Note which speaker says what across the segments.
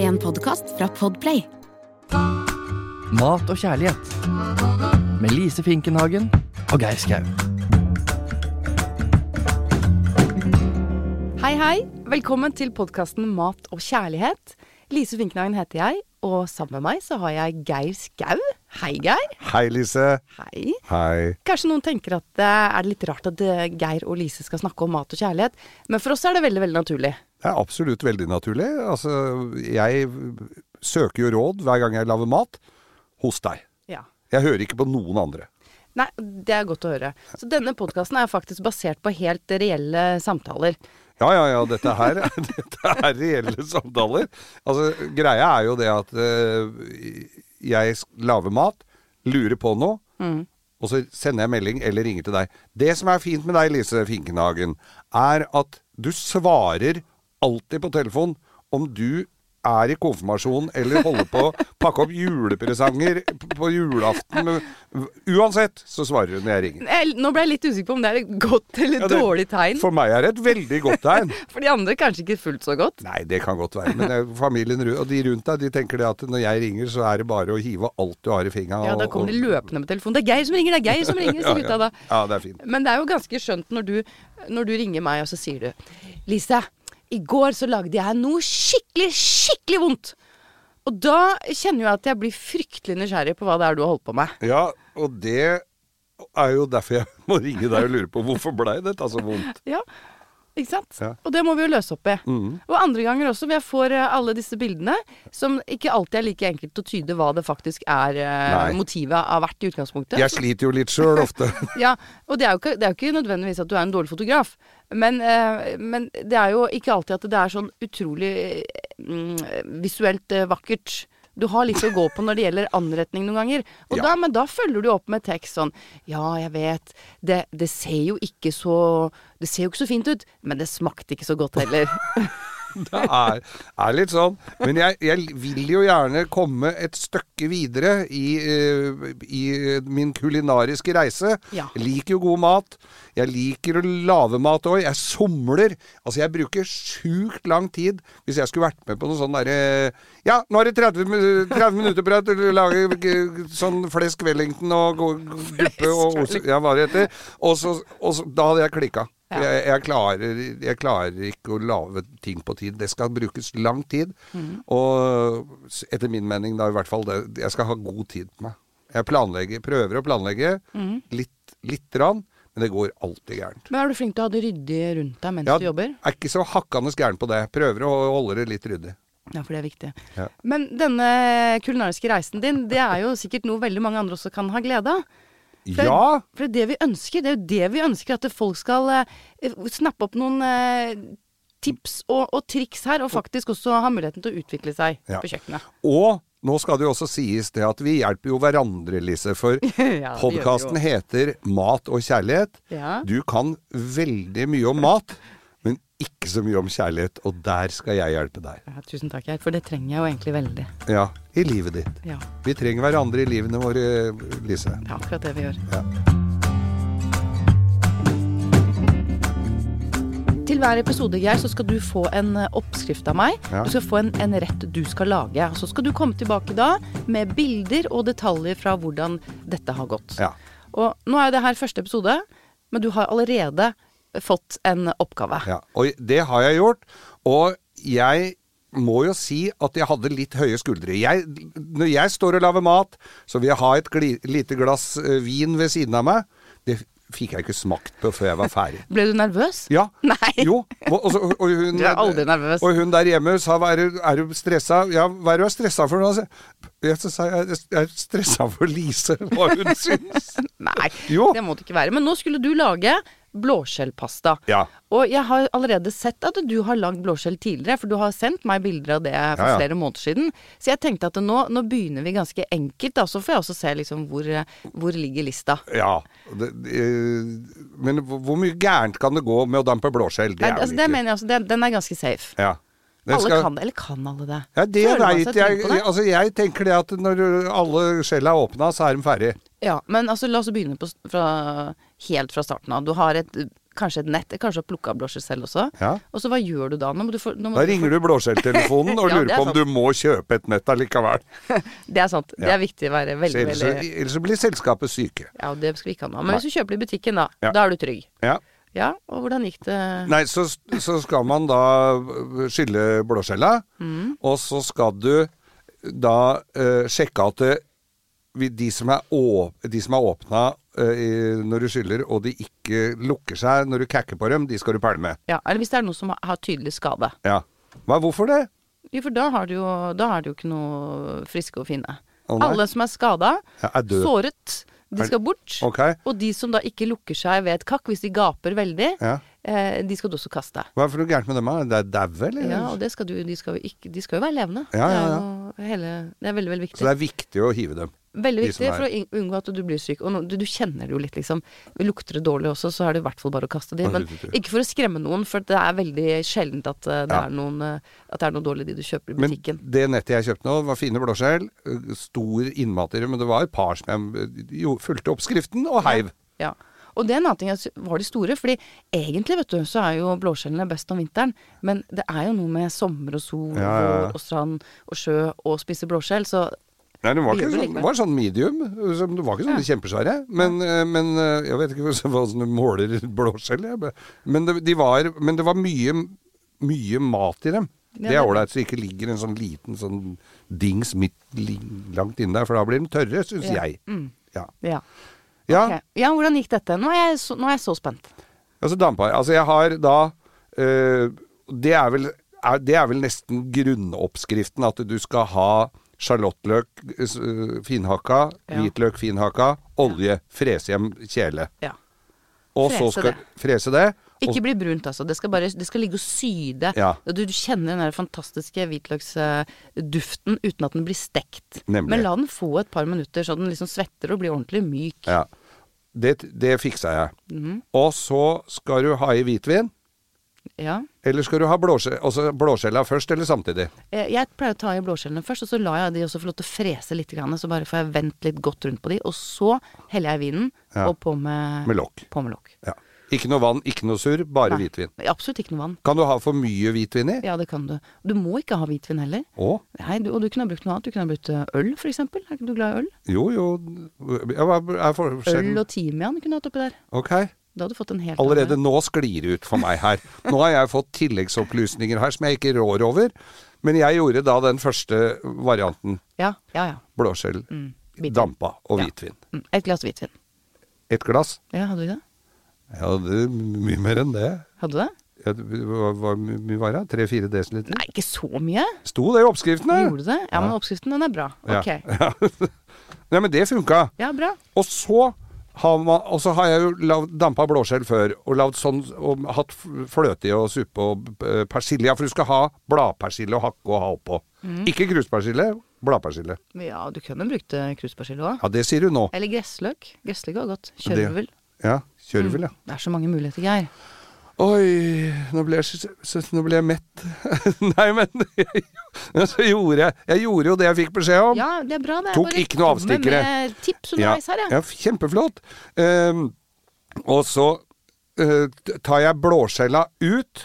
Speaker 1: En podkast fra Podplay.
Speaker 2: Mat og kjærlighet med Lise Finkenhagen og Geir Skau.
Speaker 3: Hei, hei. Velkommen til podkasten Mat og kjærlighet. Lise Finknagen heter jeg, og sammen med meg så har jeg Geir Skau. Hei, Geir.
Speaker 4: Hei, Lise.
Speaker 3: Hei.
Speaker 4: Hei.
Speaker 3: Kanskje noen tenker at det er litt rart at eh, Geir og Lise skal snakke om mat og kjærlighet, men for oss er det veldig, veldig naturlig.
Speaker 4: Det er absolutt veldig naturlig. Altså, jeg søker jo råd hver gang jeg lager mat, hos deg.
Speaker 3: Ja.
Speaker 4: Jeg hører ikke på noen andre.
Speaker 3: Nei, det er godt å høre. Så denne podkasten er faktisk basert på helt reelle samtaler.
Speaker 4: Ja, ja, ja, dette her dette er reelle samtaler. Altså, greia er jo det at eh, jeg s- lager mat, lurer på noe,
Speaker 3: Mm.
Speaker 4: og så sender jeg melding eller ringer til deg. Det som er fint med deg, Lise Finkenhagen, er at du svarer alltid på telefon om du er i konfirmasjon eller holder på å pakke opp julepresanger p- på julaften. Uansett så svarer du når jeg ringer.
Speaker 3: Jeg, nå ble jeg litt usikker på om det er et godt eller
Speaker 4: Ja, det-
Speaker 3: dårlig tegn. For...
Speaker 4: For meg er det et veldig godt tegn.
Speaker 3: de andre kanskje ikke fullt så godt.
Speaker 4: Nei, det kan godt være. Men det er familien ru- og de rundt deg de tenker det at når jeg ringer, så er det bare å hive alt du har i fingra.
Speaker 3: Ja, da kommer de løpende med telefonen. Det er Geir som ringer, det er Geir som ringer, sier gutta da.
Speaker 4: Ja, det er fint.
Speaker 3: Men det er jo ganske skjønt når du, når du ringer meg, og så sier du Lise, i går så lagde jeg noe skikkelig, skikkelig vondt. Og da kjenner jeg at jeg blir fryktelig nysgjerrig på hva det er du har holdt på med.
Speaker 4: Ja, og det er jo derfor jeg må ringe deg og lure på hvorfor blei dette så vondt.
Speaker 3: Ja, ikke sant?
Speaker 4: Ja. Mm.
Speaker 3: Og det må vi jo løse opp i. Og andre ganger også, hvor jeg får eh, alle disse bildene, som ikke alltid er like enkelt å tyde hva det faktisk er eh,
Speaker 4: Nei.
Speaker 3: motivet har vært i utgangspunktet.
Speaker 4: Jeg sliter jo litt sjøl ofte.
Speaker 3: Ja, og det er, jo ikke, det er jo ikke nødvendigvis at du er en dårlig fotograf, men, eh, men det er jo ikke alltid at det er sånn utrolig eh, mm, visuelt eh, vakkert. Du har litt å gå på når det gjelder anretning noen ganger. Og
Speaker 4: Ja.
Speaker 3: da, men da følger du opp med tekst sånn Ja, jeg vet. Det, det ser jo ikke så Det ser jo ikke så fint ut, men det smakte ikke så godt heller.
Speaker 4: Det er, er litt sånn. Men jeg, jeg vil jo gjerne komme et stykke videre i, eh, i eh, min kulinariske reise.
Speaker 3: Ja.
Speaker 4: Jeg liker jo god mat. Jeg liker å lage mat òg. Jeg somler. Altså, jeg bruker sjukt lang tid hvis jeg skulle vært med på noe sånn derre Ja, nå er det 30, min- 30 minutter på deg til å lage eh, sånn flesk Wellington og go- guppe og ost Ja, hva det heter. Og så, og så Da hadde jeg klikka.
Speaker 3: Ja.
Speaker 4: Jeg, jeg, klarer, jeg klarer ikke å lage ting på tid. Det skal brukes lang tid. Og s- etter min mening, da i hvert fall, det, jeg skal ha god tid på meg. Jeg planlegger, prøver å planlegge litt, litt rann, men det går alltid gærent.
Speaker 3: Men er du flink til å ha det ryddig rundt deg mens
Speaker 4: Ja,
Speaker 3: du jobber?
Speaker 4: er ikke så hakkende gæren på det. Prøver å holde det litt ryddig.
Speaker 3: Ja, for det er viktig.
Speaker 4: Ja.
Speaker 3: Men denne kulinariske reisen din, det er jo sikkert noe veldig mange andre også kan ha glede av. For, det-
Speaker 4: Ja!
Speaker 3: For det er det vi ønsker. Det er jo det vi ønsker, at folk skal eh, snappe opp noen eh, tips og, og triks her, og faktisk også ha muligheten til å utvikle seg
Speaker 4: Ja.
Speaker 3: på kjøkkenet.
Speaker 4: Og nå skal det jo også sies det at vi hjelper jo hverandre, Lise. For
Speaker 3: gjør vi
Speaker 4: podkasten heter Mat og kjærlighet.
Speaker 3: Ja.
Speaker 4: Du kan veldig mye om mat, men ikke så mye om kjærlighet. Og der skal jeg hjelpe deg.
Speaker 3: Ja, tusen takk, Geir, for det trenger jeg jo egentlig veldig.
Speaker 4: Ja, i livet ditt.
Speaker 3: Ja,
Speaker 4: Vi trenger hverandre i livene våre, Lise.
Speaker 3: det er akkurat det vi gjør.
Speaker 4: Ja.
Speaker 3: Til hver episode, Geir, så skal du få en eh, oppskrift av meg.
Speaker 4: Ja.
Speaker 3: Du skal få en, en rett du skal lage. Så skal du komme tilbake da med bilder og detaljer fra hvordan dette har gått.
Speaker 4: Ja.
Speaker 3: Og nå er det her første episode, men du har allerede fått en oppgave.
Speaker 4: Ja, og det har jeg gjort. Og jeg må jo si at jeg hadde litt høye skuldre. Jeg, når jeg står og lager mat, så vil jeg ha et gli, lite glass eh, vin ved siden av meg. Det fikk jeg ikke smakt på før jeg var ferdig.
Speaker 3: Ble du nervøs?
Speaker 4: Ja.
Speaker 3: Nei.
Speaker 4: Jo. Og, og, så- og hun,
Speaker 3: Du er aldri nervøs.
Speaker 4: Og hun der hjemme sa hva er du, er du stressa? Ja, hva er du er stressa for nå? Så jeg- Så sa jeg jeg er stressa for Lise, hva hun syns.
Speaker 3: Nei,
Speaker 4: Jo.
Speaker 3: det må det ikke være. Men nå skulle du lage blåskjellpasta.
Speaker 4: Ja.
Speaker 3: Og jeg har allerede sett at du har lagd blåskjell tidligere, for du har sendt meg bilder av det for
Speaker 4: Ja, ja.
Speaker 3: flere måneder siden. Så jeg tenkte at nå, nå begynner vi ganske enkelt, da, så får jeg også se liksom hvor, eh, hvor ligger lista.
Speaker 4: Ja. Det, eh, men hvor hvor mye gærent kan det gå med å dampe blåskjell?
Speaker 3: Nei,
Speaker 4: vel
Speaker 3: altså, det
Speaker 4: ikke-
Speaker 3: mener jeg også, den, den er ganske safe.
Speaker 4: Ja. Den
Speaker 3: Alle
Speaker 4: skal-
Speaker 3: kan det, eller kan alle det?
Speaker 4: Ja, det
Speaker 3: Føler man seg
Speaker 4: veit
Speaker 3: trygg
Speaker 4: jeg.
Speaker 3: på det?
Speaker 4: Altså, jeg tenker det at når alle skjella er åpna, så er de ferdige.
Speaker 3: Ja, men altså, la oss begynne på, s- fra, helt fra starten av. Du har et eh, kanskje et nett, kanskje har plukka blåskjell selv også.
Speaker 4: Ja.
Speaker 3: Og så hva gjør du da? Nå må du få, nå må
Speaker 4: Da
Speaker 3: du få-
Speaker 4: ringer du blåskjelltelefonen og
Speaker 3: Mm. Ja,
Speaker 4: lurer
Speaker 3: det er
Speaker 4: på
Speaker 3: sant.
Speaker 4: om du må kjøpe et nett allikevel.
Speaker 3: Det er sant. Det
Speaker 4: Ja.
Speaker 3: er viktig å være
Speaker 4: Så
Speaker 3: veldig,
Speaker 4: Ellers, så-
Speaker 3: veldig
Speaker 4: ellers så blir selskapet syke.
Speaker 3: Ja, det skal vi ikke ha nå. Men hvis du kjøper det i butikken, da.
Speaker 4: Ja.
Speaker 3: Da er du trygg.
Speaker 4: Ja.
Speaker 3: Ja, og hvordan gikk det?
Speaker 4: Nei, så, så skal man da skylle blåskjella,
Speaker 3: Mm.
Speaker 4: og så skal du da eh, sjekke at det, vi- de som er, å- de som er åpna eh, i- når du skyller, og de ikke lukker seg når du kakker på dem, de skal du pælme.
Speaker 3: Ja, eller hvis det er noen som har- har tydelig skade.
Speaker 4: Ja. Hva, hvorfor det?
Speaker 3: Jo, for da har du jo, da er du jo ikke noe friske og fine.
Speaker 4: Å, nei.
Speaker 3: Alle som er skada,
Speaker 4: Ja, er død.
Speaker 3: såret,
Speaker 4: Er-
Speaker 3: de skal bort.
Speaker 4: Ok.
Speaker 3: Og de som da ikke lukker seg ved et kakk, hvis de gaper veldig,
Speaker 4: Ja.
Speaker 3: eh, de skal du også kaste.
Speaker 4: Hva er det for noe gærent med dem? da? Det er daue, eller?
Speaker 3: Ja, og det skal du, de, skal jo ikke, de skal jo være levende.
Speaker 4: Ja, ja,
Speaker 3: Det, er jo hele, det er veldig, veldig viktig.
Speaker 4: Så det er viktig å hive dem.
Speaker 3: veldig
Speaker 4: de
Speaker 3: viktig
Speaker 4: som er-
Speaker 3: for å ing- unngå at du blir syk. Og nå, du, du kjenner det jo litt, liksom. Lukter det dårlig også, så er det i hvert fall bare å kaste de.
Speaker 4: Ja,
Speaker 3: Men
Speaker 4: det er det.
Speaker 3: ikke for å skremme noen, for det er veldig sjeldent at eh, det,
Speaker 4: Ja.
Speaker 3: er noen, eh, at det er noe dårlig i de du kjøper i
Speaker 4: Men
Speaker 3: butikken.
Speaker 4: det nettet jeg kjøpte nå, var fine blåskjell. øh, Stor innmat i det, men det var et par som jeg øh, jo, fulgte oppskriften og heiv.
Speaker 3: Ja. Og det er en annen ting jeg sy- var de store, fordi egentlig vet du, så er jo blåskjellene best om vinteren, men det er jo noe med sommer og sol
Speaker 4: Ja, ja, ja.
Speaker 3: og- og strand og sjø og spise blåskjell, så
Speaker 4: Nei, den var,
Speaker 3: Det
Speaker 4: ikke
Speaker 3: gjør det
Speaker 4: sånn, den var sånn medium. øh, som- Den var ikke sånn kjempesvære. Men, øh, men øh, jeg vet ikke hva- hva som måler blåskjell. jeg bare- Men det, de var, men det var mye, mye mat i dem.
Speaker 3: Ja,
Speaker 4: Det er
Speaker 3: det-
Speaker 4: ålreit, så det ikke ligger en sånn liten sånn dings midt, li- langt inne der, for da blir de tørre, syns
Speaker 3: Ja.
Speaker 4: jeg. Ja.
Speaker 3: ja.
Speaker 4: ja.
Speaker 3: Ok. ja, hvordan gikk dette? Nå er jeg så, nå er jeg så spent.
Speaker 4: Altså dampar. Altså jeg har da eh, det, er vel, er, det er vel nesten grunnoppskriften at du skal ha sjalottløk eh, finhakka,
Speaker 3: Ja.
Speaker 4: hvitløk finhakka, olje, frese hjem kjele.
Speaker 3: Ja.
Speaker 4: Og så
Speaker 3: Frese
Speaker 4: skal
Speaker 3: det.
Speaker 4: frese det. og-
Speaker 3: Ikke bli brunt, altså. Det skal, bare, det skal ligge og syde.
Speaker 4: Ja.
Speaker 3: Du, du kjenner den der fantastiske hvitløksduften uten at den blir stekt.
Speaker 4: Nemlig.
Speaker 3: Men la den få et par minutter, så den liksom svetter og blir ordentlig myk.
Speaker 4: ja. det, det fiksa jeg.
Speaker 3: Mhm.
Speaker 4: Og så skal du ha i hvitvin.
Speaker 3: Ja.
Speaker 4: Eller skal du ha blåskje- altså blåskjella først, eller samtidig?
Speaker 3: Eh, Jeg pleier å ta i blåskjellene først, og så lar jeg de også få lov til å frese litt. Grann, så bare får jeg vendt litt godt rundt på de. Og så heller jeg vinen,
Speaker 4: Ja.
Speaker 3: og på med,
Speaker 4: Med lokk.
Speaker 3: På med lokk.
Speaker 4: Ja. Ikke noe vann, ikke noe surr, bare
Speaker 3: Nei,
Speaker 4: hvitvin.
Speaker 3: Absolutt ikke noe vann.
Speaker 4: Kan du ha for mye hvitvin i?
Speaker 3: Ja, det kan du. Du må ikke ha hvitvin heller.
Speaker 4: Å?
Speaker 3: Nei, du, og du kunne ha brukt noe annet. Du kunne ha brukt eh, øl, for eksempel. Er ikke du glad i øl?
Speaker 4: Jo, jo ja, Hva er forskjellen?
Speaker 3: Øl og timian kunne du hatt oppi der.
Speaker 4: Ok.
Speaker 3: Da hadde du fått en helt
Speaker 4: Allerede
Speaker 3: annen-
Speaker 4: nå sklir det ut for meg her. Nå har jeg fått tilleggsopplysninger her som jeg ikke rår over. Men jeg gjorde da den første varianten.
Speaker 3: Ja, ja, ja.
Speaker 4: Blåskjell,
Speaker 3: Mm. hvitvin.
Speaker 4: dampa og
Speaker 3: Ja.
Speaker 4: hvitvin.
Speaker 3: Mm, Et glass hvitvin.
Speaker 4: Et glass?
Speaker 3: Ja, hadde du det?
Speaker 4: Jeg hadde mye mer enn det.
Speaker 3: Hadde du det?
Speaker 4: Jeg, hva, hva hvor mye var det? Tre-fire desiliter?
Speaker 3: Nei, ikke så mye.
Speaker 4: Sto det i oppskriften her?
Speaker 3: Gjorde du det? Ja, men oppskriften, den er bra.
Speaker 4: Ja.
Speaker 3: Ok.
Speaker 4: Nei, men det funka.
Speaker 3: Ja, bra.
Speaker 4: Og så har, man, og så har jeg jo lavd, dampa blåskjell før, og lagd sånn, og hatt f- fløte i og suppe og eh, persille. Ja, for du skal ha bladpersille og hakke og ha oppå. Ikke kruspersille, bladpersille.
Speaker 3: Ja, du kunne brukt eh, kruspersille òg.
Speaker 4: Ja, det sier du nå.
Speaker 3: Eller gressløk. Gressløk var godt.
Speaker 4: Det-
Speaker 3: Kjørvel.
Speaker 4: Ja, kjørvel, ja.
Speaker 3: Det er så mange muligheter, Geir.
Speaker 4: Oi, nå ble jeg, så- så- nå ble jeg mett. Nei, men så gjorde jeg Jeg gjorde jo det jeg fikk beskjed om.
Speaker 3: Ja, det er bra, det. Jeg
Speaker 4: Tok
Speaker 3: bare
Speaker 4: ikke noe
Speaker 3: kommer
Speaker 4: avstikkere.
Speaker 3: Med tips underveis her, jeg.
Speaker 4: ja, kjempeflott. Ehm, og så eh, t- tar jeg blåskjella ut,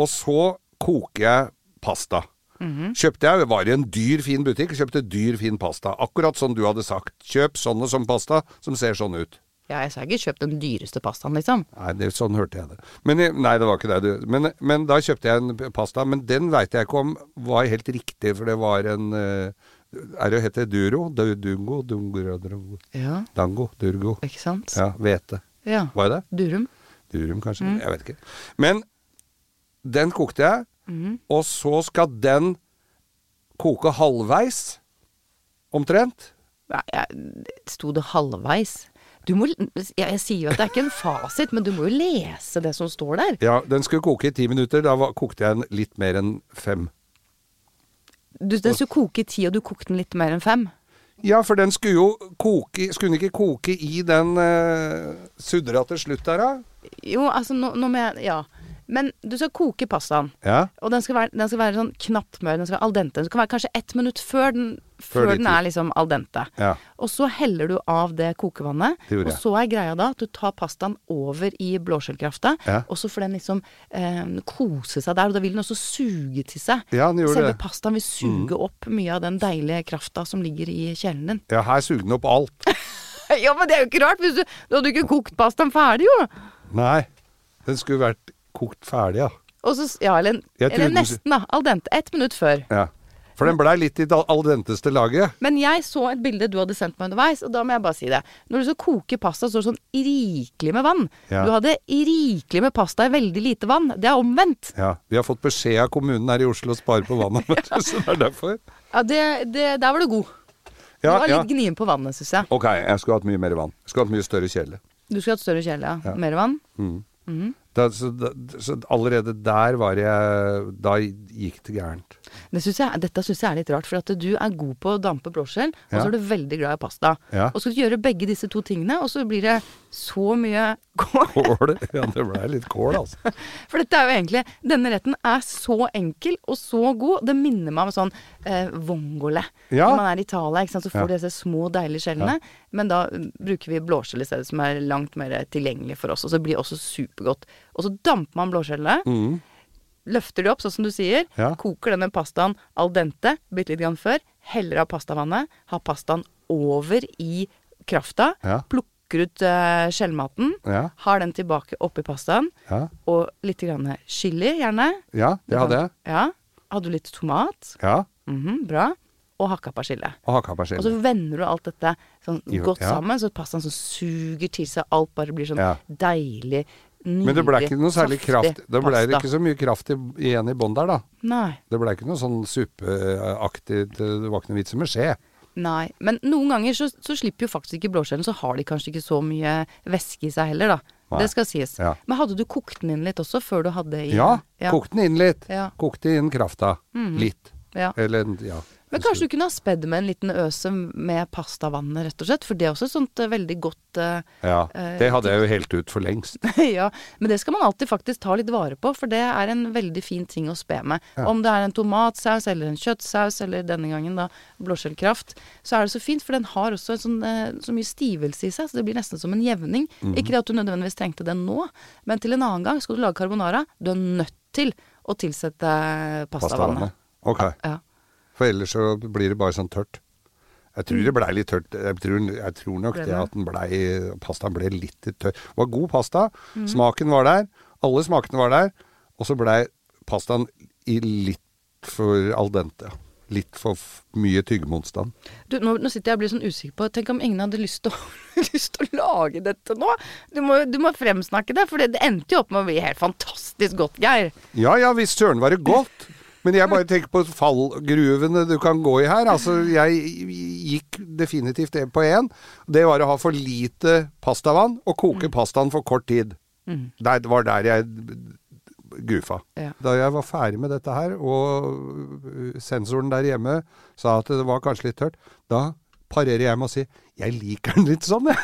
Speaker 4: og så koker jeg pasta. Kjøpte jeg, var i en dyr, fin butikk, kjøpte dyr, fin pasta. Akkurat som du hadde sagt. Kjøp sånn og sånn pasta som ser sånn ut.
Speaker 3: Ja, jeg sa ikke kjøp den dyreste pastaen, liksom.
Speaker 4: Nei, det, sånn hørte jeg det. Men, jeg- nei, det var ikke det. Du. Men, men da kjøpte jeg en p- pasta, men den veit jeg ikke om var helt riktig, for det var en eh, Er det heter duro? Du- Dungo? Dungo, dungo.
Speaker 3: Ja,
Speaker 4: Dango? Durgo?
Speaker 3: ikke sant?
Speaker 4: Ja, hvete.
Speaker 3: Ja.
Speaker 4: Var det det?
Speaker 3: Durum.
Speaker 4: Durum, kanskje? Jeg vet ikke. Men den kokte jeg, og så skal den koke halvveis, omtrent.
Speaker 3: Nei, jeg- Sto det halvveis? Du må, jeg, jeg sier jo at det er ikke en fasit, men du må jo lese det som står der.
Speaker 4: Ja, den skulle koke i ti minutter, da var, kokte jeg den litt mer enn fem.
Speaker 3: Du, den skulle koke i ti, og du kokte den litt mer enn fem.
Speaker 4: Ja, for den skulle jo koke Skulle den ikke koke i den eh, sudra til slutt der, da?
Speaker 3: Jo, altså, nå, nå må jeg Ja. Men du skal koke pastaen.
Speaker 4: Ja.
Speaker 3: Og den skal være, den skal være sånn knapt mør. Den skal være al dente. Den skal være kanskje ett minutt før den,
Speaker 4: Før
Speaker 3: før
Speaker 4: de
Speaker 3: den
Speaker 4: to.
Speaker 3: er liksom al dente.
Speaker 4: Ja.
Speaker 3: Og så heller du av det kokevannet.
Speaker 4: Det
Speaker 3: og
Speaker 4: gjorde jeg.
Speaker 3: så er greia da at du tar pastaen over i blåskjellkrafta.
Speaker 4: Ja.
Speaker 3: Og så får den liksom eh, kose seg der. Og da vil den også suge til seg.
Speaker 4: Ja, den gjorde
Speaker 3: Selve
Speaker 4: det.
Speaker 3: pastaen vil suge opp mye av den deilige krafta som ligger i kjelen din.
Speaker 4: ja, her sugde den opp alt.
Speaker 3: ja, men det er jo ikke rart! Hvis du, du hadde jo ikke kokt pastaen ferdig, jo!
Speaker 4: Nei, den skulle vært kokt ferdig, ja.
Speaker 3: Og så, ja, eller,
Speaker 4: Jeg
Speaker 3: eller
Speaker 4: trodde du-
Speaker 3: nesten, da. Al dente. Ett minutt før.
Speaker 4: ja. For den blei litt i det al denteste laget.
Speaker 3: Men jeg så et bilde du hadde sendt meg underveis, og da må jeg bare si det. Når du skal koke pasta, så er det sånn rikelig med vann.
Speaker 4: Ja.
Speaker 3: Du hadde rikelig med pasta i veldig lite vann. Det er omvendt.
Speaker 4: Ja, Vi har fått beskjed av kommunen her i Oslo å spare på vannet. Så det er derfor.
Speaker 3: Ja, det, det, der var du god.
Speaker 4: Ja,
Speaker 3: du var
Speaker 4: ja.
Speaker 3: litt gnien på vannet, syns jeg.
Speaker 4: Ok, jeg skulle hatt mye mer vann. Jeg skulle hatt mye større kjele.
Speaker 3: Du skulle hatt større kjele, ja. Mer vann.
Speaker 4: Da, så, da, så allerede der var jeg Da gikk det gærent.
Speaker 3: Det synes jeg, dette syns jeg er litt rart, for at du er god på å dampe blåskjell, og
Speaker 4: Ja.
Speaker 3: så er du veldig glad i pasta.
Speaker 4: Ja.
Speaker 3: Og så skal du gjøre begge disse to tingene, og så blir det så mye kål.
Speaker 4: Kål? Ja, det blei litt kål, altså.
Speaker 3: For dette er jo egentlig Denne retten er så enkel og så god. Det minner meg om sånn eh, vongole.
Speaker 4: Ja.
Speaker 3: Når man er i Italia, ikke sant, så får
Speaker 4: Ja.
Speaker 3: du disse små, deilige skjellene. Men da mm, bruker vi blåskjell i stedet, som er langt mer eh, tilgjengelig for oss. Og så blir det også supergodt. Og så damper man blåskjellene. Løfter de opp, sånn som du sier.
Speaker 4: Mm. Ja.
Speaker 3: Koker denne pastaen al dente bitte litt grann før. Heller av pastavannet. Har pastaen over i krafta.
Speaker 4: Ja.
Speaker 3: Plukker ut eh, skjellmaten.
Speaker 4: Ja.
Speaker 3: Har den tilbake oppi pastaen
Speaker 4: Ja,
Speaker 3: og litt grann chili, gjerne.
Speaker 4: ja det hadde jeg.
Speaker 3: Ja. Hadde du litt tomat?
Speaker 4: Ja.
Speaker 3: Mhm, bra. Og hakka persille.
Speaker 4: Og hakka
Speaker 3: Og
Speaker 4: persille.
Speaker 3: så vender du alt dette sånn
Speaker 4: Jo,
Speaker 3: godt
Speaker 4: ja.
Speaker 3: sammen, så pastaen sånn suger til seg. Alt bare blir sånn
Speaker 4: Ja.
Speaker 3: deilig, nydelig,
Speaker 4: Men det blei ikke noe særlig
Speaker 3: saftig
Speaker 4: kraft Det blei
Speaker 3: pasta.
Speaker 4: ikke så mye kraft i- igjen i bånn der, da.
Speaker 3: Nei.
Speaker 4: Det blei ikke noe sånn suppeaktig Det var ikke noe vits i med skje.
Speaker 3: Nei. Men noen ganger så, så slipper jo faktisk ikke blåskjellen, så har de kanskje ikke så mye væske i seg heller, da.
Speaker 4: Nei.
Speaker 3: Det skal sies.
Speaker 4: Ja.
Speaker 3: Men hadde du kokt den inn litt også, før du hadde i
Speaker 4: Ja, kokte den inn litt.
Speaker 3: Ja. Mm.
Speaker 4: Kokte inn krafta. Litt.
Speaker 3: Ja.
Speaker 4: Eller ja.
Speaker 3: Men kanskje du kunne ha spedd med en liten øse med pastavannet, rett og slett. For det er også et sånt eh, veldig godt eh,
Speaker 4: Ja.
Speaker 3: eh,
Speaker 4: Det hadde jeg jo helt ut for lengst.
Speaker 3: ja, men det skal man alltid faktisk ta litt vare på, for det er en veldig fin ting å spe med. Om det er en tomatsaus eller en kjøttsaus, eller denne gangen da blåskjellkraft, så er det så fint, for den har også en sånn, eh, så mye stivelse i seg, så det blir nesten som en jevning. Ikke det at du nødvendigvis trengte den nå, men til en annen gang skal du lage carbonara. Du er nødt til å tilsette eh, pastavannet.
Speaker 4: Pastavannet. Ok.
Speaker 3: Ja.
Speaker 4: For ellers så blir det bare sånn tørt. Jeg tror det blei litt tørt. Jeg tror, jeg tror
Speaker 3: Mm.
Speaker 4: nok
Speaker 3: Ble
Speaker 4: det
Speaker 3: det?
Speaker 4: at den blei Pastaen ble litt tørr. Det var god pasta.
Speaker 3: Mm.
Speaker 4: Smaken var der. Alle smakene var der. Og så blei pastaen i litt for al dente. Litt for f- mye tyggemotstand.
Speaker 3: Du, nå, nå sitter jeg og blir sånn usikker på Tenk om ingen hadde lyst til å, lyst til å lage dette nå? Du må, du må fremsnakke det, for det, det endte jo opp med å bli helt fantastisk godt, Geir.
Speaker 4: Ja ja, hvis søren var det godt. Men jeg bare tenker på fallgruvene du kan gå i her. Altså, jeg gikk definitivt på én. Det var å ha for lite pastavann og koke pastaen for kort tid. Der- Det var der jeg gufa.
Speaker 3: Ja.
Speaker 4: Da jeg var ferdig med dette her, og sensoren der hjemme sa at det var kanskje litt tørt, da parerer jeg med å si 'jeg liker den litt sånn', jeg.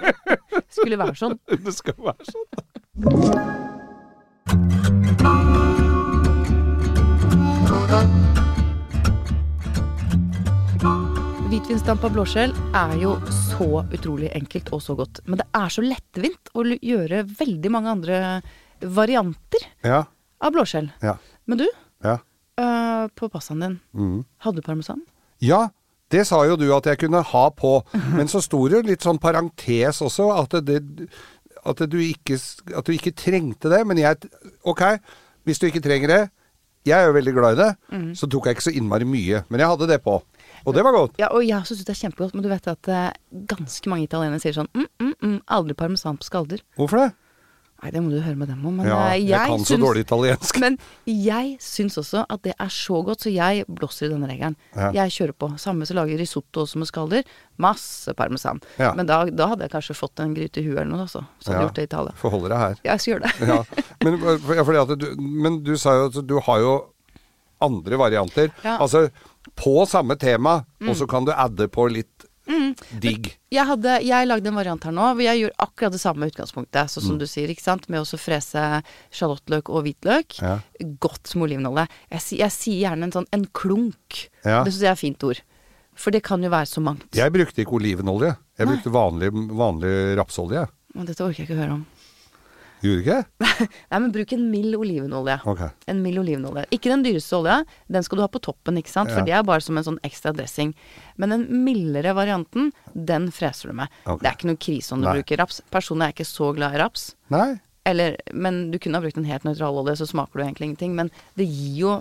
Speaker 3: Skulle være sånn.
Speaker 4: Det skal være sånn.
Speaker 3: Hvitvinsdampa blåskjell er jo så utrolig enkelt og så godt. Men det er så lettvint å l- gjøre veldig mange andre varianter
Speaker 4: Ja.
Speaker 3: av blåskjell.
Speaker 4: Ja.
Speaker 3: Men du,
Speaker 4: Ja.
Speaker 3: øh, på passaen din, hadde du parmesan?
Speaker 4: Ja, det sa jo du at jeg kunne ha på. Men så sto det jo litt sånn parentes også, at, det, at, du ikke, at du ikke trengte det. Men jeg Ok, hvis du ikke trenger det Jeg er jo veldig glad i det.
Speaker 3: Mm.
Speaker 4: Så tok jeg ikke så innmari mye. Men jeg hadde det på. Og det var godt.
Speaker 3: Ja, og jeg også syns det er kjempegodt, men du vet at eh, ganske mange italienere sier sånn mm, mm, mm, aldri parmesan på skalder.
Speaker 4: Hvorfor det?
Speaker 3: Nei, det må du høre med dem om, men
Speaker 4: Ja,
Speaker 3: eh,
Speaker 4: jeg, kan så
Speaker 3: syns-
Speaker 4: dårlig italiensk.
Speaker 3: Men jeg syns også at det er så godt, så jeg blåser i denne regelen.
Speaker 4: Ja.
Speaker 3: Jeg kjører på. Samme som lager risotto også med skaller. Masse parmesan.
Speaker 4: Ja.
Speaker 3: Men da, da hadde jeg kanskje fått en gryte i huet eller noe, altså. Så hadde jeg
Speaker 4: Ja,
Speaker 3: gjort det i Italia.
Speaker 4: Forholder deg her.
Speaker 3: Jeg skal gjøre det.
Speaker 4: Ja, men, for, ja, fordi at du, men du sa jo at du har jo andre varianter.
Speaker 3: Ja. Mm.
Speaker 4: Altså på samme tema, og så kan du adde på litt Digg.
Speaker 3: Jeg, hadde, jeg lagde en variant her nå hvor jeg gjorde akkurat det samme utgangspunktet. Sånn som
Speaker 4: Mm.
Speaker 3: du sier, ikke sant. Med å så frese sjalottløk og hvitløk.
Speaker 4: Ja.
Speaker 3: Godt med olivenolje. Jeg, si- jeg sier gjerne en sånn en klunk.
Speaker 4: Ja.
Speaker 3: Det syns jeg er et fint ord. For det kan jo være så mangt.
Speaker 4: Jeg brukte ikke olivenolje. Jeg brukte vanlig, vanlig rapsolje.
Speaker 3: Og dette orker jeg ikke høre om.
Speaker 4: Gjorde du ikke?
Speaker 3: Nei, men bruk en mild olivenolje.
Speaker 4: Ok.
Speaker 3: En mild olivenolje. Ikke den dyreste olja, den skal du ha på toppen, ikke sant.
Speaker 4: Ja.
Speaker 3: For det er bare som en sånn ekstra dressing. Men den mildere varianten, den freser du med.
Speaker 4: Ok.
Speaker 3: Det er ikke noe krise om du
Speaker 4: Nei.
Speaker 3: bruker raps. Personlig er jeg ikke så glad i raps.
Speaker 4: Nei.
Speaker 3: Eller, men du kunne ha brukt en helt nøytral olje, så smaker du egentlig ingenting. Men det gir jo,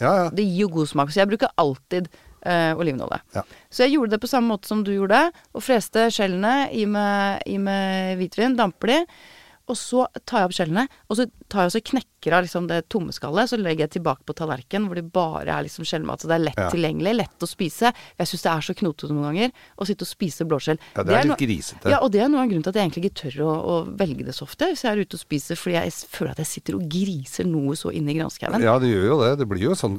Speaker 4: Ja, ja.
Speaker 3: det gir jo god smak. Så jeg bruker alltid eh, olivenolje.
Speaker 4: Ja.
Speaker 3: Så jeg gjorde det på samme måte som du gjorde, og freste skjellene i med, i med hvitvin, damper de. Og så tar jeg opp skjellene, og så tar jeg og så knekker av liksom det tomme skallet. Så legger jeg tilbake på tallerkenen hvor det bare er liksom skjellmat. Så det er lett
Speaker 4: Ja.
Speaker 3: tilgjengelig, lett å spise. Jeg syns det er så knotete noen ganger å sitte og spise blåskjell.
Speaker 4: Ja, det er
Speaker 3: no-
Speaker 4: litt grisete.
Speaker 3: Ja, og det er noe av grunnen til at jeg egentlig ikke tør å, å velge det så ofte hvis jeg er ute og spiser, fordi jeg s- føler at jeg sitter og griser noe så inne i granskauen.
Speaker 4: Ja, det gjør jo det. Det blir jo sånn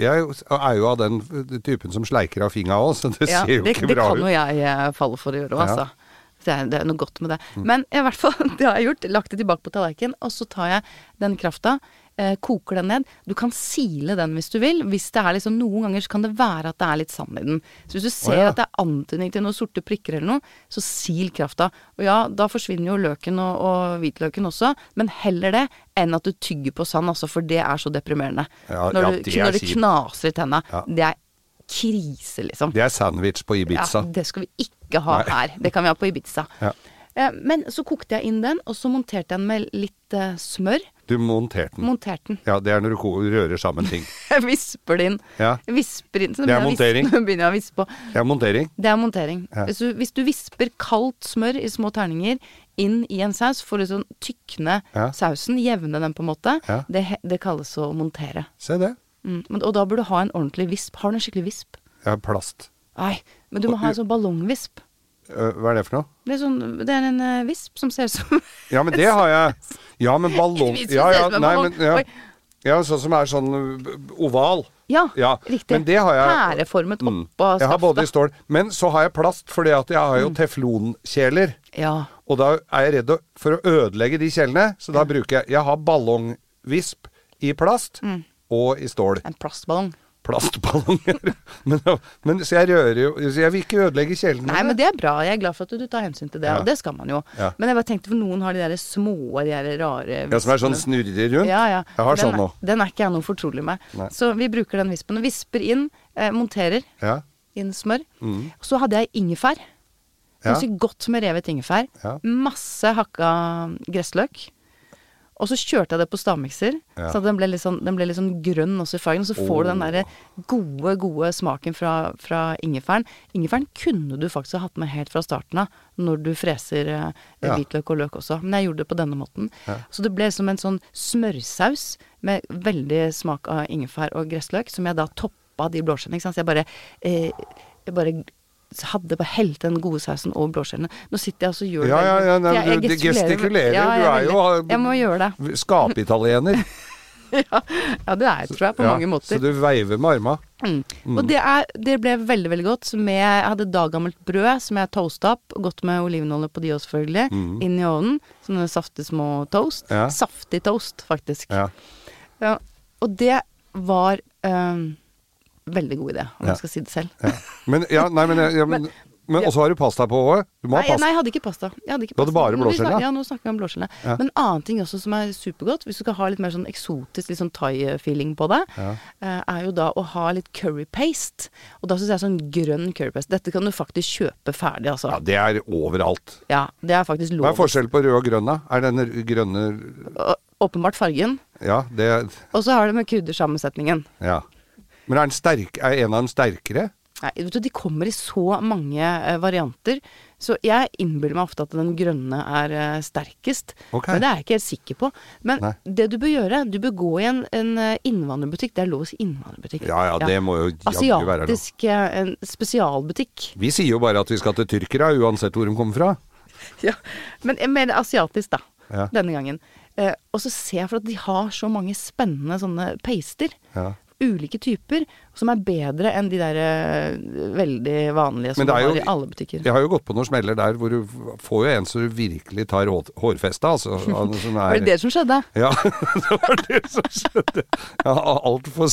Speaker 4: Jeg er jo av den typen som sleiker av fingra òg, så det
Speaker 3: Ja,
Speaker 4: ser jo
Speaker 3: det,
Speaker 4: ikke
Speaker 3: det
Speaker 4: bra
Speaker 3: kan
Speaker 4: ut.
Speaker 3: jo jeg eh, falle for å gjøre òg,
Speaker 4: Ja. Mm.
Speaker 3: altså. Det er, det er noe godt med det. Men i hvert fall, det har jeg gjort. Lagt det tilbake på tallerkenen, og så tar jeg den krafta. Eh, koker den ned. Du kan sile den hvis du vil. Hvis det er liksom, Noen ganger så kan det være at det er litt sand i den. Så hvis du ser
Speaker 4: ja.
Speaker 3: at det er antydning til noen sorte prikker eller noe, så sil krafta. Og ja, da forsvinner jo løken og, og hvitløken også, men heller det enn at du tygger på sand, altså, for det er så deprimerende.
Speaker 4: Ja,
Speaker 3: når
Speaker 4: ja,
Speaker 3: du,
Speaker 4: det er
Speaker 3: når det
Speaker 4: kjipt.
Speaker 3: knaser i tenna.
Speaker 4: Ja.
Speaker 3: Det er krise, liksom.
Speaker 4: Det er sandwich på Ibiza.
Speaker 3: Ja, det skal vi ikke ha
Speaker 4: Nei.
Speaker 3: her. Det kan vi ha på Ibiza.
Speaker 4: Ja.
Speaker 3: Eh, Men så kokte jeg inn den, og så monterte jeg den med litt eh, smør.
Speaker 4: Du monterte den.
Speaker 3: Monterte den.
Speaker 4: Ja, det er når du ko- rører sammen ting.
Speaker 3: Jeg visper det inn.
Speaker 4: Ja.
Speaker 3: Jeg Visper inn. Så
Speaker 4: Det
Speaker 3: begynner jeg
Speaker 4: er
Speaker 3: å
Speaker 4: montering.
Speaker 3: vispe- begynner jeg å vispe på.
Speaker 4: Ja, montering.
Speaker 3: Det er montering.
Speaker 4: Ja.
Speaker 3: Hvis, du, hvis du visper kaldt smør i små terninger inn i en saus for å sånn tykne
Speaker 4: Ja.
Speaker 3: sausen, jevne den på en måte,
Speaker 4: Ja.
Speaker 3: det, he- det kalles å montere.
Speaker 4: Se det.
Speaker 3: Mm. Men, og da bør du ha en ordentlig visp. Har du en skikkelig visp?
Speaker 4: Ja, plast.
Speaker 3: Nei, men du må ha en sånn ballongvisp.
Speaker 4: Øh, Hva er det for noe?
Speaker 3: Det er, sånn, det er en eh, visp som ser ut som
Speaker 4: Ja, men det har jeg. Ja, men ballong
Speaker 3: Visst,
Speaker 4: Ja, ja,
Speaker 3: visst, men
Speaker 4: nei,
Speaker 3: ballong.
Speaker 4: men ja.
Speaker 3: Oi.
Speaker 4: ja, sånn som er sånn ø, oval.
Speaker 3: Ja,
Speaker 4: Ja,
Speaker 3: riktig.
Speaker 4: men det har jeg-
Speaker 3: Pæreformet
Speaker 4: Mm.
Speaker 3: oppå
Speaker 4: Jeg har både i
Speaker 3: skaftet. Mm.
Speaker 4: stål. Men så har jeg plast, fordi at jeg har jo teflonkjeler.
Speaker 3: Ja.
Speaker 4: Og da er jeg redd for å ødelegge de kjelene, så da bruker jeg Jeg har ballongvisp i plast
Speaker 3: Mm.
Speaker 4: og i stål.
Speaker 3: En plastballong.
Speaker 4: Plastballonger. men, men, så jeg rører jo Så jeg vil ikke ødelegge kjelene.
Speaker 3: Nei, men det er bra. Jeg er glad for at du tar hensyn til det,
Speaker 4: Ja.
Speaker 3: og det skal man jo.
Speaker 4: Ja.
Speaker 3: Men jeg bare tenkte, for noen har de der små, de der rare
Speaker 4: Ja, som er sånn
Speaker 3: vispene.
Speaker 4: snurrer rundt.
Speaker 3: Ja, ja.
Speaker 4: Jeg har
Speaker 3: den,
Speaker 4: sånn nå.
Speaker 3: er- Den er ikke jeg noe fortrolig med.
Speaker 4: Nei.
Speaker 3: Så vi bruker den vispen. og Visper inn, eh, monterer
Speaker 4: Ja,
Speaker 3: inn smør. Så hadde jeg ingefær.
Speaker 4: Mm. Ja.
Speaker 3: Ganske godt med revet ingefær.
Speaker 4: Ja.
Speaker 3: Masse hakka gressløk. Og så kjørte jeg det på stavmikser,
Speaker 4: Ja.
Speaker 3: så at den ble, litt sånn, den ble litt sånn grønn også i fargen. Og så får du den derre gode, gode smaken fra, fra ingefæren. Ingefæren kunne du faktisk ha hatt med helt fra starten av når du freser eh,
Speaker 4: Ja.
Speaker 3: hvitløk og løk også, men jeg gjorde det på denne måten. Så det ble som en sånn smørsaus med veldig smak av ingefær og gressløk, som jeg da toppa de blåskjellene. ikke sant? Så jeg bare, eh, jeg bare hadde bare helt den gode sausen over blåskjellene. Nå sitter jeg og så gjør
Speaker 4: ja, ja. ja nei,
Speaker 3: Jeg- jeg
Speaker 4: du du
Speaker 3: gestikulerer.
Speaker 4: gestikulerer.
Speaker 3: Ja,
Speaker 4: du er
Speaker 3: jeg
Speaker 4: jo
Speaker 3: veldig- Jeg må gjøre det.
Speaker 4: eh, Skapitaliener.
Speaker 3: Ja, det er jeg, tror jeg, på
Speaker 4: Ja,
Speaker 3: mange måter.
Speaker 4: Så du veiver med arma.
Speaker 3: Mm. Og det, er, det ble veldig, veldig godt. Med, jeg hadde daggammelt brød som jeg toasta opp. Godt med olivenolje på de også, selvfølgelig. Inn i ovnen. Sånne saftige små toast.
Speaker 4: Mm. Ja.
Speaker 3: Saftig toast, faktisk.
Speaker 4: Ja.
Speaker 3: Ja. Og det var øhm, veldig god idé, om
Speaker 4: Ja.
Speaker 3: jeg skal si det selv.
Speaker 4: Men, ja, nei, men, ja, men, men også har du pasta på òg. Du må
Speaker 3: Nei,
Speaker 4: ha
Speaker 3: jeg- nei,
Speaker 4: pasta.
Speaker 3: jeg hadde ikke pasta. Jeg hadde ikke
Speaker 4: Du hadde
Speaker 3: pasta.
Speaker 4: bare
Speaker 3: Men vi
Speaker 4: blåskjell,
Speaker 3: snak-
Speaker 4: ja?
Speaker 3: Ja, nå snakker vi om blåskjellene.
Speaker 4: Ja.
Speaker 3: Men annen ting også som er supergodt, hvis du skal ha litt mer sånn eksotisk, litt sånn thai-feeling på det,
Speaker 4: Ja.
Speaker 3: eh, er jo da å ha litt curry paste. Og da syns jeg sånn grønn curry paste Dette kan du faktisk kjøpe ferdig, altså. Ja,
Speaker 4: Ja, det er overalt.
Speaker 3: det er faktisk
Speaker 4: Hva er
Speaker 3: lov.
Speaker 4: forskjellen på rød og grønn, da? Er denne grønne
Speaker 3: Å- Åpenbart fargen.
Speaker 4: Ja, det
Speaker 3: Og så har det med kryddersammensetningen.
Speaker 4: Ja. Men er, den sterk, er en av dem sterkere?
Speaker 3: Nei, vet du, De kommer i så mange eh, varianter, så jeg innbiller meg ofte at den grønne er eh, sterkest.
Speaker 4: Ok.
Speaker 3: Men det er jeg ikke helt sikker på. Men
Speaker 4: Nei.
Speaker 3: det du bør gjøre, du bør gå i en, en eh, innvandrerbutikk. Det er lov å si innvandrerbutikk.
Speaker 4: Ja ja, det må jo jaggu være lov.
Speaker 3: Asiatisk eh, en spesialbutikk.
Speaker 4: Vi sier jo bare at vi skal til tyrkere, uansett hvor de kommer fra.
Speaker 3: Ja. Men jeg mener asiatisk, da.
Speaker 4: Ja.
Speaker 3: Denne gangen. Eh, og så ser jeg for at de har så mange spennende sånne paster.
Speaker 4: Ja.
Speaker 3: ulike typer som er bedre enn de der eh, veldig vanlige som
Speaker 4: Men det
Speaker 3: du
Speaker 4: er jo-
Speaker 3: har i alle butikker.
Speaker 4: Jeg har jo gått på noen smeller der hvor du får jo en som du virkelig tar hå- hårfeste, altså. Han som er,
Speaker 3: Var det det som skjedde?
Speaker 4: Ja, det var det som skjedde. Ja, Altfor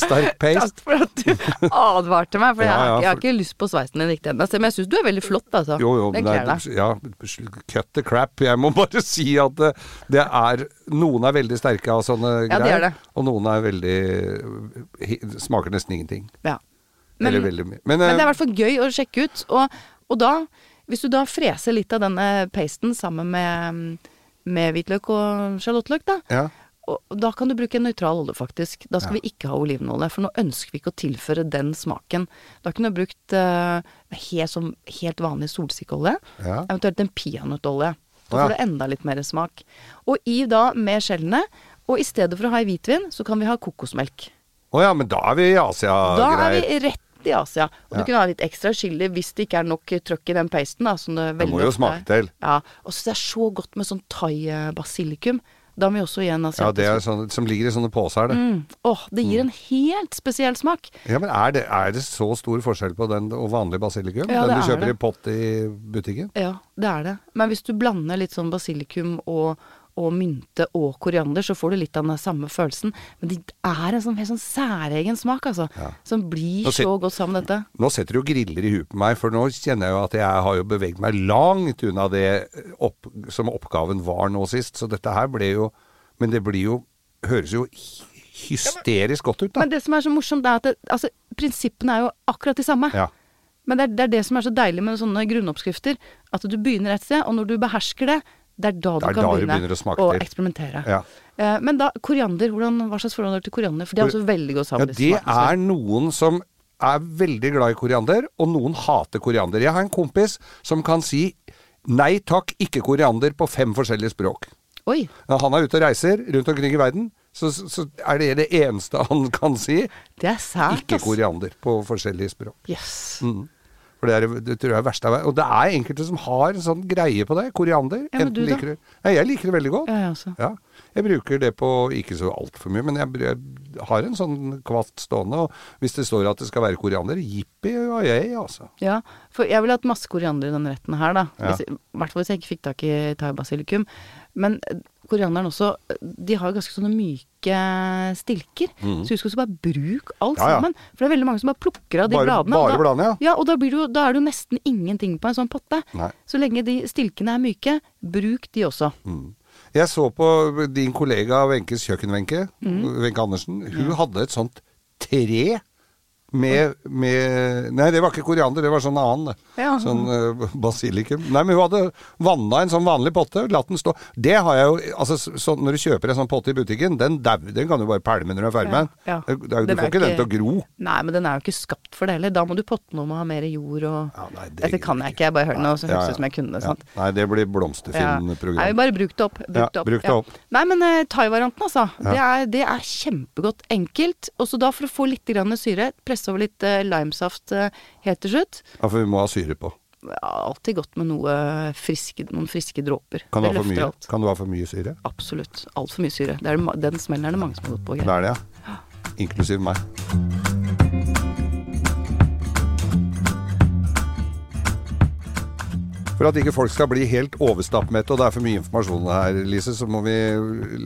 Speaker 4: sterk paste.
Speaker 3: Takk for at du advarte meg, for
Speaker 4: Ja, ja,
Speaker 3: jeg, jeg har
Speaker 4: for-
Speaker 3: ikke lyst på sveisen din riktig ennå. Men jeg syns du er veldig flott, altså.
Speaker 4: Jo, jo,
Speaker 3: Den
Speaker 4: nei,
Speaker 3: kler deg.
Speaker 4: ja, cut the crap. Jeg må bare si at det, det er Noen er veldig sterke av sånne
Speaker 3: Ja, de
Speaker 4: greier,
Speaker 3: er det.
Speaker 4: og noen er veldig he- Smaker nesten ingenting.
Speaker 3: Ja. Men,
Speaker 4: Eller
Speaker 3: men
Speaker 4: veldig mye.
Speaker 3: det er i
Speaker 4: eh,
Speaker 3: hvert fall gøy å sjekke ut. Og, og da, hvis du da freser litt av denne pasten sammen med, med hvitløk og sjalottløk, da,
Speaker 4: ja.
Speaker 3: og, og da kan du bruke en nøytral olje, faktisk. Da skal
Speaker 4: Ja.
Speaker 3: vi ikke ha olivenolje, for nå ønsker vi ikke å tilføre den smaken. Da kunne du brukt eh, helt, som, helt vanlig solsikkeolje,
Speaker 4: Ja.
Speaker 3: eventuelt en peanøttolje. Da
Speaker 4: Å, ja.
Speaker 3: får du enda litt mer smak. Og i da med skjellene, og i stedet for å ha i hvitvin, så kan vi ha kokosmelk.
Speaker 4: Å ja, men da er vi i
Speaker 3: Da er
Speaker 4: Asia-greier.
Speaker 3: vi rett i Asia. Og
Speaker 4: Ja.
Speaker 3: du kunne ha litt ekstra chili hvis det ikke er nok trøkk i den pasten. Da, som det
Speaker 4: Det
Speaker 3: veldig
Speaker 4: må jo
Speaker 3: ofte
Speaker 4: smake
Speaker 3: er.
Speaker 4: til.
Speaker 3: Ja. Og så det er så godt med sånn thai-basilikum. Da må vi også gi en
Speaker 4: Ja, det er
Speaker 3: asiatisk
Speaker 4: sånne, som ligger i sånne poser, det.
Speaker 3: Mm. Åh, det gir en helt spesiell smak.
Speaker 4: Ja, men er det, er det så stor forskjell på den og vanlig basilikum?
Speaker 3: Ja, det
Speaker 4: den du
Speaker 3: er det.
Speaker 4: kjøper i pott i butikken?
Speaker 3: Ja, det er det. Men hvis du blander litt sånn basilikum og og mynte og koriander, så får du litt av den samme følelsen. Men det er en sånn helt sånn særegen smak, altså.
Speaker 4: Ja.
Speaker 3: Som blir
Speaker 4: Nå sit-
Speaker 3: så godt sammen, dette.
Speaker 4: Nå setter du jo griller i huet på meg, for nå kjenner jeg jo at jeg har jo beveget meg langt unna det opp, som oppgaven var nå sist. Så dette her ble jo Men det blir jo Høres jo hy- hysterisk godt ut, da.
Speaker 3: Men det som er så morsomt, er at det, altså, prinsippene er jo akkurat de samme.
Speaker 4: Ja.
Speaker 3: Men det er, det er det som er så deilig med sånne grunnoppskrifter. At du begynner et sted, og når du behersker det, det er da du
Speaker 4: Det er
Speaker 3: kan
Speaker 4: da du
Speaker 3: begynne
Speaker 4: begynner å smake til.
Speaker 3: eksperimentere.
Speaker 4: Ja.
Speaker 3: Eh, men da, koriander, hvordan, hva slags forhold har du til koriander? For det er
Speaker 4: Kor-
Speaker 3: også veldig godt
Speaker 4: ja,
Speaker 3: sammen.
Speaker 4: det er noen som er veldig glad i koriander, og noen hater koriander. Jeg har en kompis som kan si nei takk, ikke koriander på fem forskjellige språk.
Speaker 3: Oi.
Speaker 4: Når han er ute og reiser rundt omkring i verden, så, så er det det eneste han kan si.
Speaker 3: Det er sært,
Speaker 4: Ikke koriander Mm. på forskjellige språk.
Speaker 3: Yes.
Speaker 4: For det, er, det tror jeg er verst av Og det er enkelte som har en sånn greie på det. Koriander.
Speaker 3: Ja, men
Speaker 4: enten
Speaker 3: du da?
Speaker 4: liker det. Nei, jeg liker det veldig godt.
Speaker 3: Ja, altså. jeg også.
Speaker 4: Ja. Jeg bruker det på ikke så altfor mye, men jeg, br- jeg har en sånn kvast stående. Og hvis det står at det skal være koriander, jippi og jeg, altså.
Speaker 3: Ja, for jeg ville hatt masse koriander i denne retten her, da.
Speaker 4: Ja.
Speaker 3: Hvis- I hvert fall hvis jeg ikke fikk tak i thai-basilikum. Men eh, korianderen også, eh, de har jo ganske sånne myke stilker. Så husk også bare bruk alt
Speaker 4: Mhm. Ja, ja.
Speaker 3: sammen. For det er veldig mange som bare plukker av de
Speaker 4: Bare-
Speaker 3: bladene.
Speaker 4: bare
Speaker 3: og da,
Speaker 4: bladene, ja.
Speaker 3: Ja, og da, blir det jo, da er det jo nesten ingenting på en sånn potte.
Speaker 4: Nei.
Speaker 3: Så lenge de stilkene er myke, bruk de også.
Speaker 4: Mm. Jeg så på din kollega Wenches kjøkken-Wenche,
Speaker 3: Mm.
Speaker 4: Wenche Andersen. Hun hadde et sånt tre med, med Nei, det var ikke koriander, det var sånn annen. det.
Speaker 3: Ja.
Speaker 4: Sånn eh, basilikum. Nei, men hun hadde vanna en sånn vanlig potte, latt den stå. Det har jeg jo Altså, så, så når du kjøper en sånn potte i butikken, den, dau- den kan du bare pælme når du er ferdig med den.
Speaker 3: Ja, ja.
Speaker 4: Det er jo- Du
Speaker 3: Den
Speaker 4: får
Speaker 3: er
Speaker 4: ikke den
Speaker 3: ikke-
Speaker 4: til å gro.
Speaker 3: Nei, men den er jo ikke skapt for det heller. Da må du potte noe med å ha mer jord og
Speaker 4: Ja, nei, det
Speaker 3: Dette
Speaker 4: gidder
Speaker 3: kan
Speaker 4: jeg
Speaker 3: jeg ikke, jeg bare hører den, og så
Speaker 4: Ja,
Speaker 3: høres
Speaker 4: ja.
Speaker 3: det ut som jeg kunne det.
Speaker 4: Ja.
Speaker 3: sant?
Speaker 4: Nei, det blir
Speaker 3: Ja. Nei, vi
Speaker 4: blomsterfilmprogram.
Speaker 3: bare bruk det opp. Bruk
Speaker 4: Ja,
Speaker 3: det opp.
Speaker 4: bruk det
Speaker 3: Ja.
Speaker 4: opp.
Speaker 3: Nei, men uh, thaivarianten, altså. Det, er, det er kjempegodt. Enkelt. Og så da, for å få litt grann syre, presse over litt eh, limesaft eh, helt til slutt.
Speaker 4: Ja, for vi må ha syre på.
Speaker 3: Ja, Alltid godt med noe friske, noen friske dråper.
Speaker 4: Kan du
Speaker 3: Det
Speaker 4: ha for
Speaker 3: løfter
Speaker 4: mye,
Speaker 3: alt.
Speaker 4: kan du ha for mye syre?
Speaker 3: Absolutt. Altfor mye syre. Det er, det ma- den smellen er det mange som har gått på. Geir.
Speaker 4: Det er det, ja. Inklusiv meg. For at ikke folk skal bli helt overstappmette, og det er for mye informasjon her, Lise, så må vi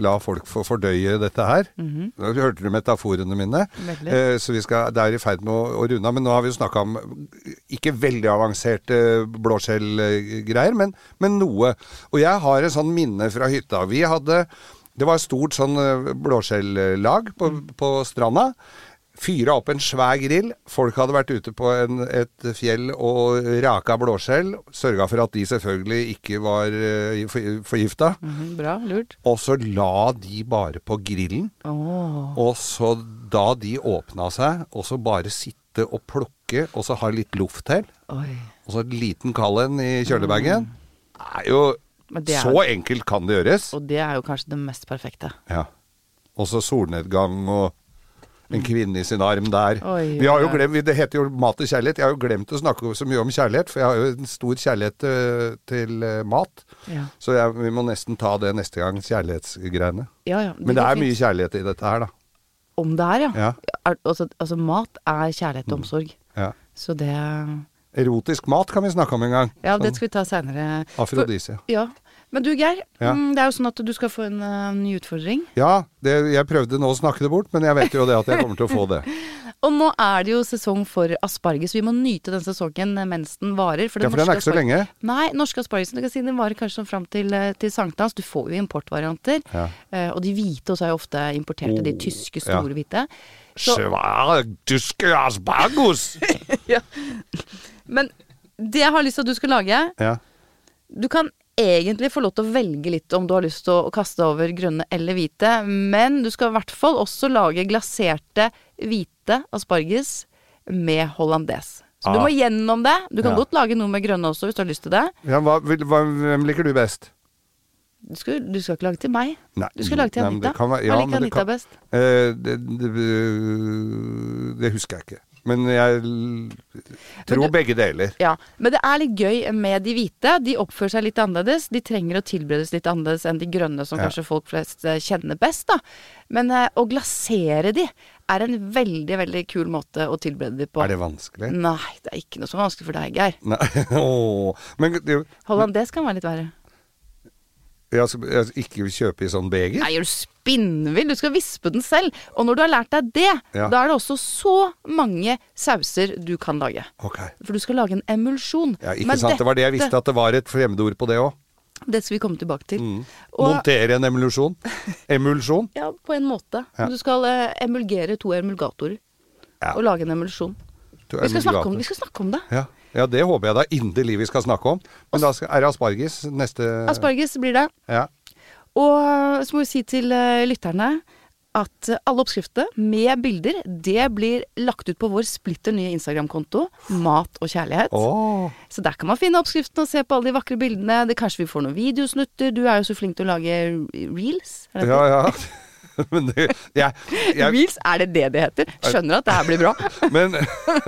Speaker 4: la folk få fordøye dette her. Nå Hørte du metaforene mine?
Speaker 3: Veldig.
Speaker 4: Eh, så vi skal, det er i ferd med å, å runde av. Men nå har vi jo snakka om ikke veldig avanserte eh, blåskjellgreier, men, men noe. Og jeg har et sånn minne fra hytta. Vi hadde Det var et stort sånn eh, blåskjellag på, på stranda. Fyra opp en svær grill. Folk hadde vært ute på en, et fjell og raka blåskjell. Sørga for at de selvfølgelig ikke var eh, for- forgifta.
Speaker 3: Mhm, bra. Lurt.
Speaker 4: Og så la de bare på grillen.
Speaker 3: Åh.
Speaker 4: Og så da de åpna seg, og så bare sitte og plukke, og så ha litt luft til,
Speaker 3: Oi.
Speaker 4: og så en liten kald en i kjølebagen, er jo
Speaker 3: Mm. Men det er-
Speaker 4: Så enkelt kan det gjøres.
Speaker 3: Og det er jo kanskje det mest perfekte.
Speaker 4: Ja. Og så solnedgang og en kvinne i sin arm der.
Speaker 3: Mm. Oi,
Speaker 4: vi har
Speaker 3: oi,
Speaker 4: jo
Speaker 3: oi.
Speaker 4: glemt, det heter jo mat og kjærlighet. Jeg har jo glemt å snakke så mye om kjærlighet, for jeg har jo en stor kjærlighet eh, til eh, mat.
Speaker 3: Ja.
Speaker 4: Så jeg, vi må nesten ta det neste gang, kjærlighetsgreiene.
Speaker 3: Ja, ja.
Speaker 4: Men det
Speaker 3: går
Speaker 4: er
Speaker 3: fint.
Speaker 4: mye kjærlighet i dette her, da.
Speaker 3: Om det er, ja.
Speaker 4: Ja.
Speaker 3: Er, altså, altså, mat er kjærlighet og omsorg.
Speaker 4: Ja.
Speaker 3: Så det Ja,
Speaker 4: Erotisk mat kan vi snakke om en gang. Sånn
Speaker 3: det skal vi ta seinere.
Speaker 4: Afrodisia.
Speaker 3: Ja. Men du, Geir.
Speaker 4: Ja.
Speaker 3: mm, Det er jo sånn at du skal få en eh, ny utfordring.
Speaker 4: Ja, det, jeg prøvde nå å snakke det bort, men jeg vet jo det at jeg kommer til å få det.
Speaker 3: Og nå er det jo sesong for asparges. Vi må nyte den sesongen mens den varer.
Speaker 4: Ja, for den er ikke så lenge.
Speaker 3: Nei, norske aspargesen du kan si, den varer kanskje sånn fram til, eh, til sankthans. Du får jo importvarianter.
Speaker 4: Ja. Oh,
Speaker 3: Eh, og de hvite også er jo ofte importerte. De tyske,
Speaker 4: ja.
Speaker 3: store hvite. Så-
Speaker 4: Svære tyske aspargos!
Speaker 3: Men det jeg har lyst til at du skal lage
Speaker 4: Ja.
Speaker 3: Du kan egentlig få lov til å velge litt om du har lyst til å kaste over grønne eller hvite, men du skal i hvert fall også lage glaserte hvite asparges med hollandes. Så du
Speaker 4: Ah.
Speaker 3: må gjennom det. Du kan
Speaker 4: Ja.
Speaker 3: godt lage noe med grønne også, hvis du har lyst til det.
Speaker 4: Ja, hva, vil, hva, hvem liker du best?
Speaker 3: Du skal, du skal ikke lage til meg.
Speaker 4: Nei,
Speaker 3: Du skal lage til
Speaker 4: nei, men det
Speaker 3: Anita.
Speaker 4: kan være- ja,
Speaker 3: Hva liker
Speaker 4: men det
Speaker 3: Anita
Speaker 4: kan-
Speaker 3: best?
Speaker 4: Eh, det, det, det husker jeg ikke. Men jeg l- tror
Speaker 3: Men du-
Speaker 4: begge deler.
Speaker 3: Ja, Men det er litt gøy med de hvite. De oppfører seg litt annerledes. De trenger å tilberedes litt annerledes enn de grønne, som
Speaker 4: Ja.
Speaker 3: kanskje folk flest eh, kjenner best. da. Men eh, å glasere de er en veldig, veldig kul måte å tilberede de på.
Speaker 4: Er det vanskelig?
Speaker 3: Nei, det er ikke noe som er vanskelig for deg, Geir.
Speaker 4: Nei. Åh. Men det-
Speaker 3: Hollandes kan være litt verre.
Speaker 4: jeg skal, jeg skal ikke kjøpe i sånn beger?
Speaker 3: Nei, er du spinnvill? Du skal vispe den selv. Og når du har lært deg det,
Speaker 4: Ja.
Speaker 3: da er det også så mange sauser du kan lage.
Speaker 4: Ok.
Speaker 3: For du skal lage en emulsjon.
Speaker 4: Ja, ikke
Speaker 3: Men
Speaker 4: sant. Det var det jeg
Speaker 3: dette-
Speaker 4: visste, at det var et fremmedord på det òg.
Speaker 3: Det skal vi komme tilbake til.
Speaker 4: Mm.
Speaker 3: Og,
Speaker 4: Montere en emulsjon. Emulsjon.
Speaker 3: ja, på en måte.
Speaker 4: Ja.
Speaker 3: Du skal eh, emulgere to emulgatorer.
Speaker 4: Ja.
Speaker 3: Og lage en emulsjon.
Speaker 4: Du
Speaker 3: Vi skal, snakke
Speaker 4: emulgator.
Speaker 3: om, vi skal snakke om det.
Speaker 4: Ja. ja, det håper jeg da inderlig vi skal snakke om. Men da skal, er det asparges neste
Speaker 3: Asparges blir det.
Speaker 4: Ja.
Speaker 3: Og så må vi si til eh, lytterne at eh, alle oppskriftene med bilder, det blir lagt ut på vår splitter nye Instagram-konto, Mat og kjærlighet.
Speaker 4: Åh.
Speaker 3: Så der kan man finne oppskriften og se på alle de vakre bildene. Det, kanskje vi får noen videosnutter. Du er jo så flink til å lage reels. Er det
Speaker 4: Ja, ja. Men, det, jeg,
Speaker 3: det?
Speaker 4: jeg,
Speaker 3: Reels, er det det det heter? Skjønner at det her blir bra.
Speaker 4: men,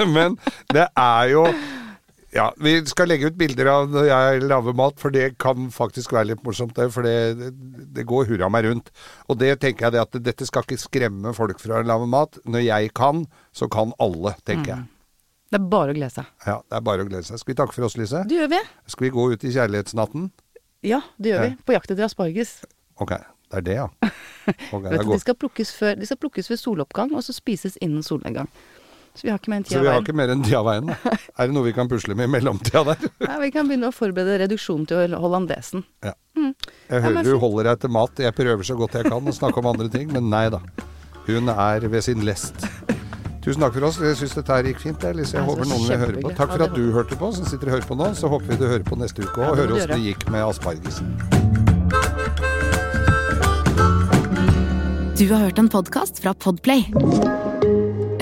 Speaker 4: men det er jo ja, Vi skal legge ut bilder av når jeg lager mat, for det kan faktisk være litt morsomt. det, For det, det går hurra meg rundt. Og det tenker jeg det at dette skal ikke skremme folk fra å lage mat. Når jeg kan, så kan alle, tenker jeg.
Speaker 3: Det er bare å glede seg.
Speaker 4: Ja, Det er bare å glede seg. Skal vi takke for oss, Lise?
Speaker 3: Det gjør vi.
Speaker 4: Skal vi gå ut i kjærlighetsnatten?
Speaker 3: Ja, det gjør
Speaker 4: Ja.
Speaker 3: vi. På jakt etter asparges.
Speaker 4: Ok, det er det, ja. Ok,
Speaker 3: Vet du,
Speaker 4: det er
Speaker 3: de,
Speaker 4: godt.
Speaker 3: skal plukkes før, de skal plukkes ved soloppgang, og så spises innen solnedgang. Så vi har ikke mer enn ti
Speaker 4: Så
Speaker 3: av
Speaker 4: vi har
Speaker 3: veien.
Speaker 4: ikke mer enn de av veien. da. Er det noe vi kan pusle med i mellomtida der?
Speaker 3: Nei, vi kan begynne å forberede reduksjonen til hollandesen.
Speaker 4: Ja.
Speaker 3: Ja,
Speaker 4: Jeg hører
Speaker 3: men
Speaker 4: du
Speaker 3: fint.
Speaker 4: holder deg til mat. Jeg prøver så godt jeg kan å snakke om andre ting, men nei da. Hun er ved sin lest. Tusen takk for oss. Jeg syns dette her gikk fint. Jeg, Lise. jeg
Speaker 3: Altså,
Speaker 4: håper noen vil høre på.
Speaker 3: kjempehyggelig.
Speaker 4: Takk for
Speaker 3: Ja,
Speaker 4: at
Speaker 3: det
Speaker 4: du hørte på, som sitter og hører på nå. Så håper vi du hører på neste uke
Speaker 3: Ja,
Speaker 4: og
Speaker 3: det må
Speaker 4: hører
Speaker 3: du
Speaker 4: åssen det
Speaker 3: gjøre.
Speaker 4: gikk med aspargesen.
Speaker 1: Du har hørt en podkast fra Podplay.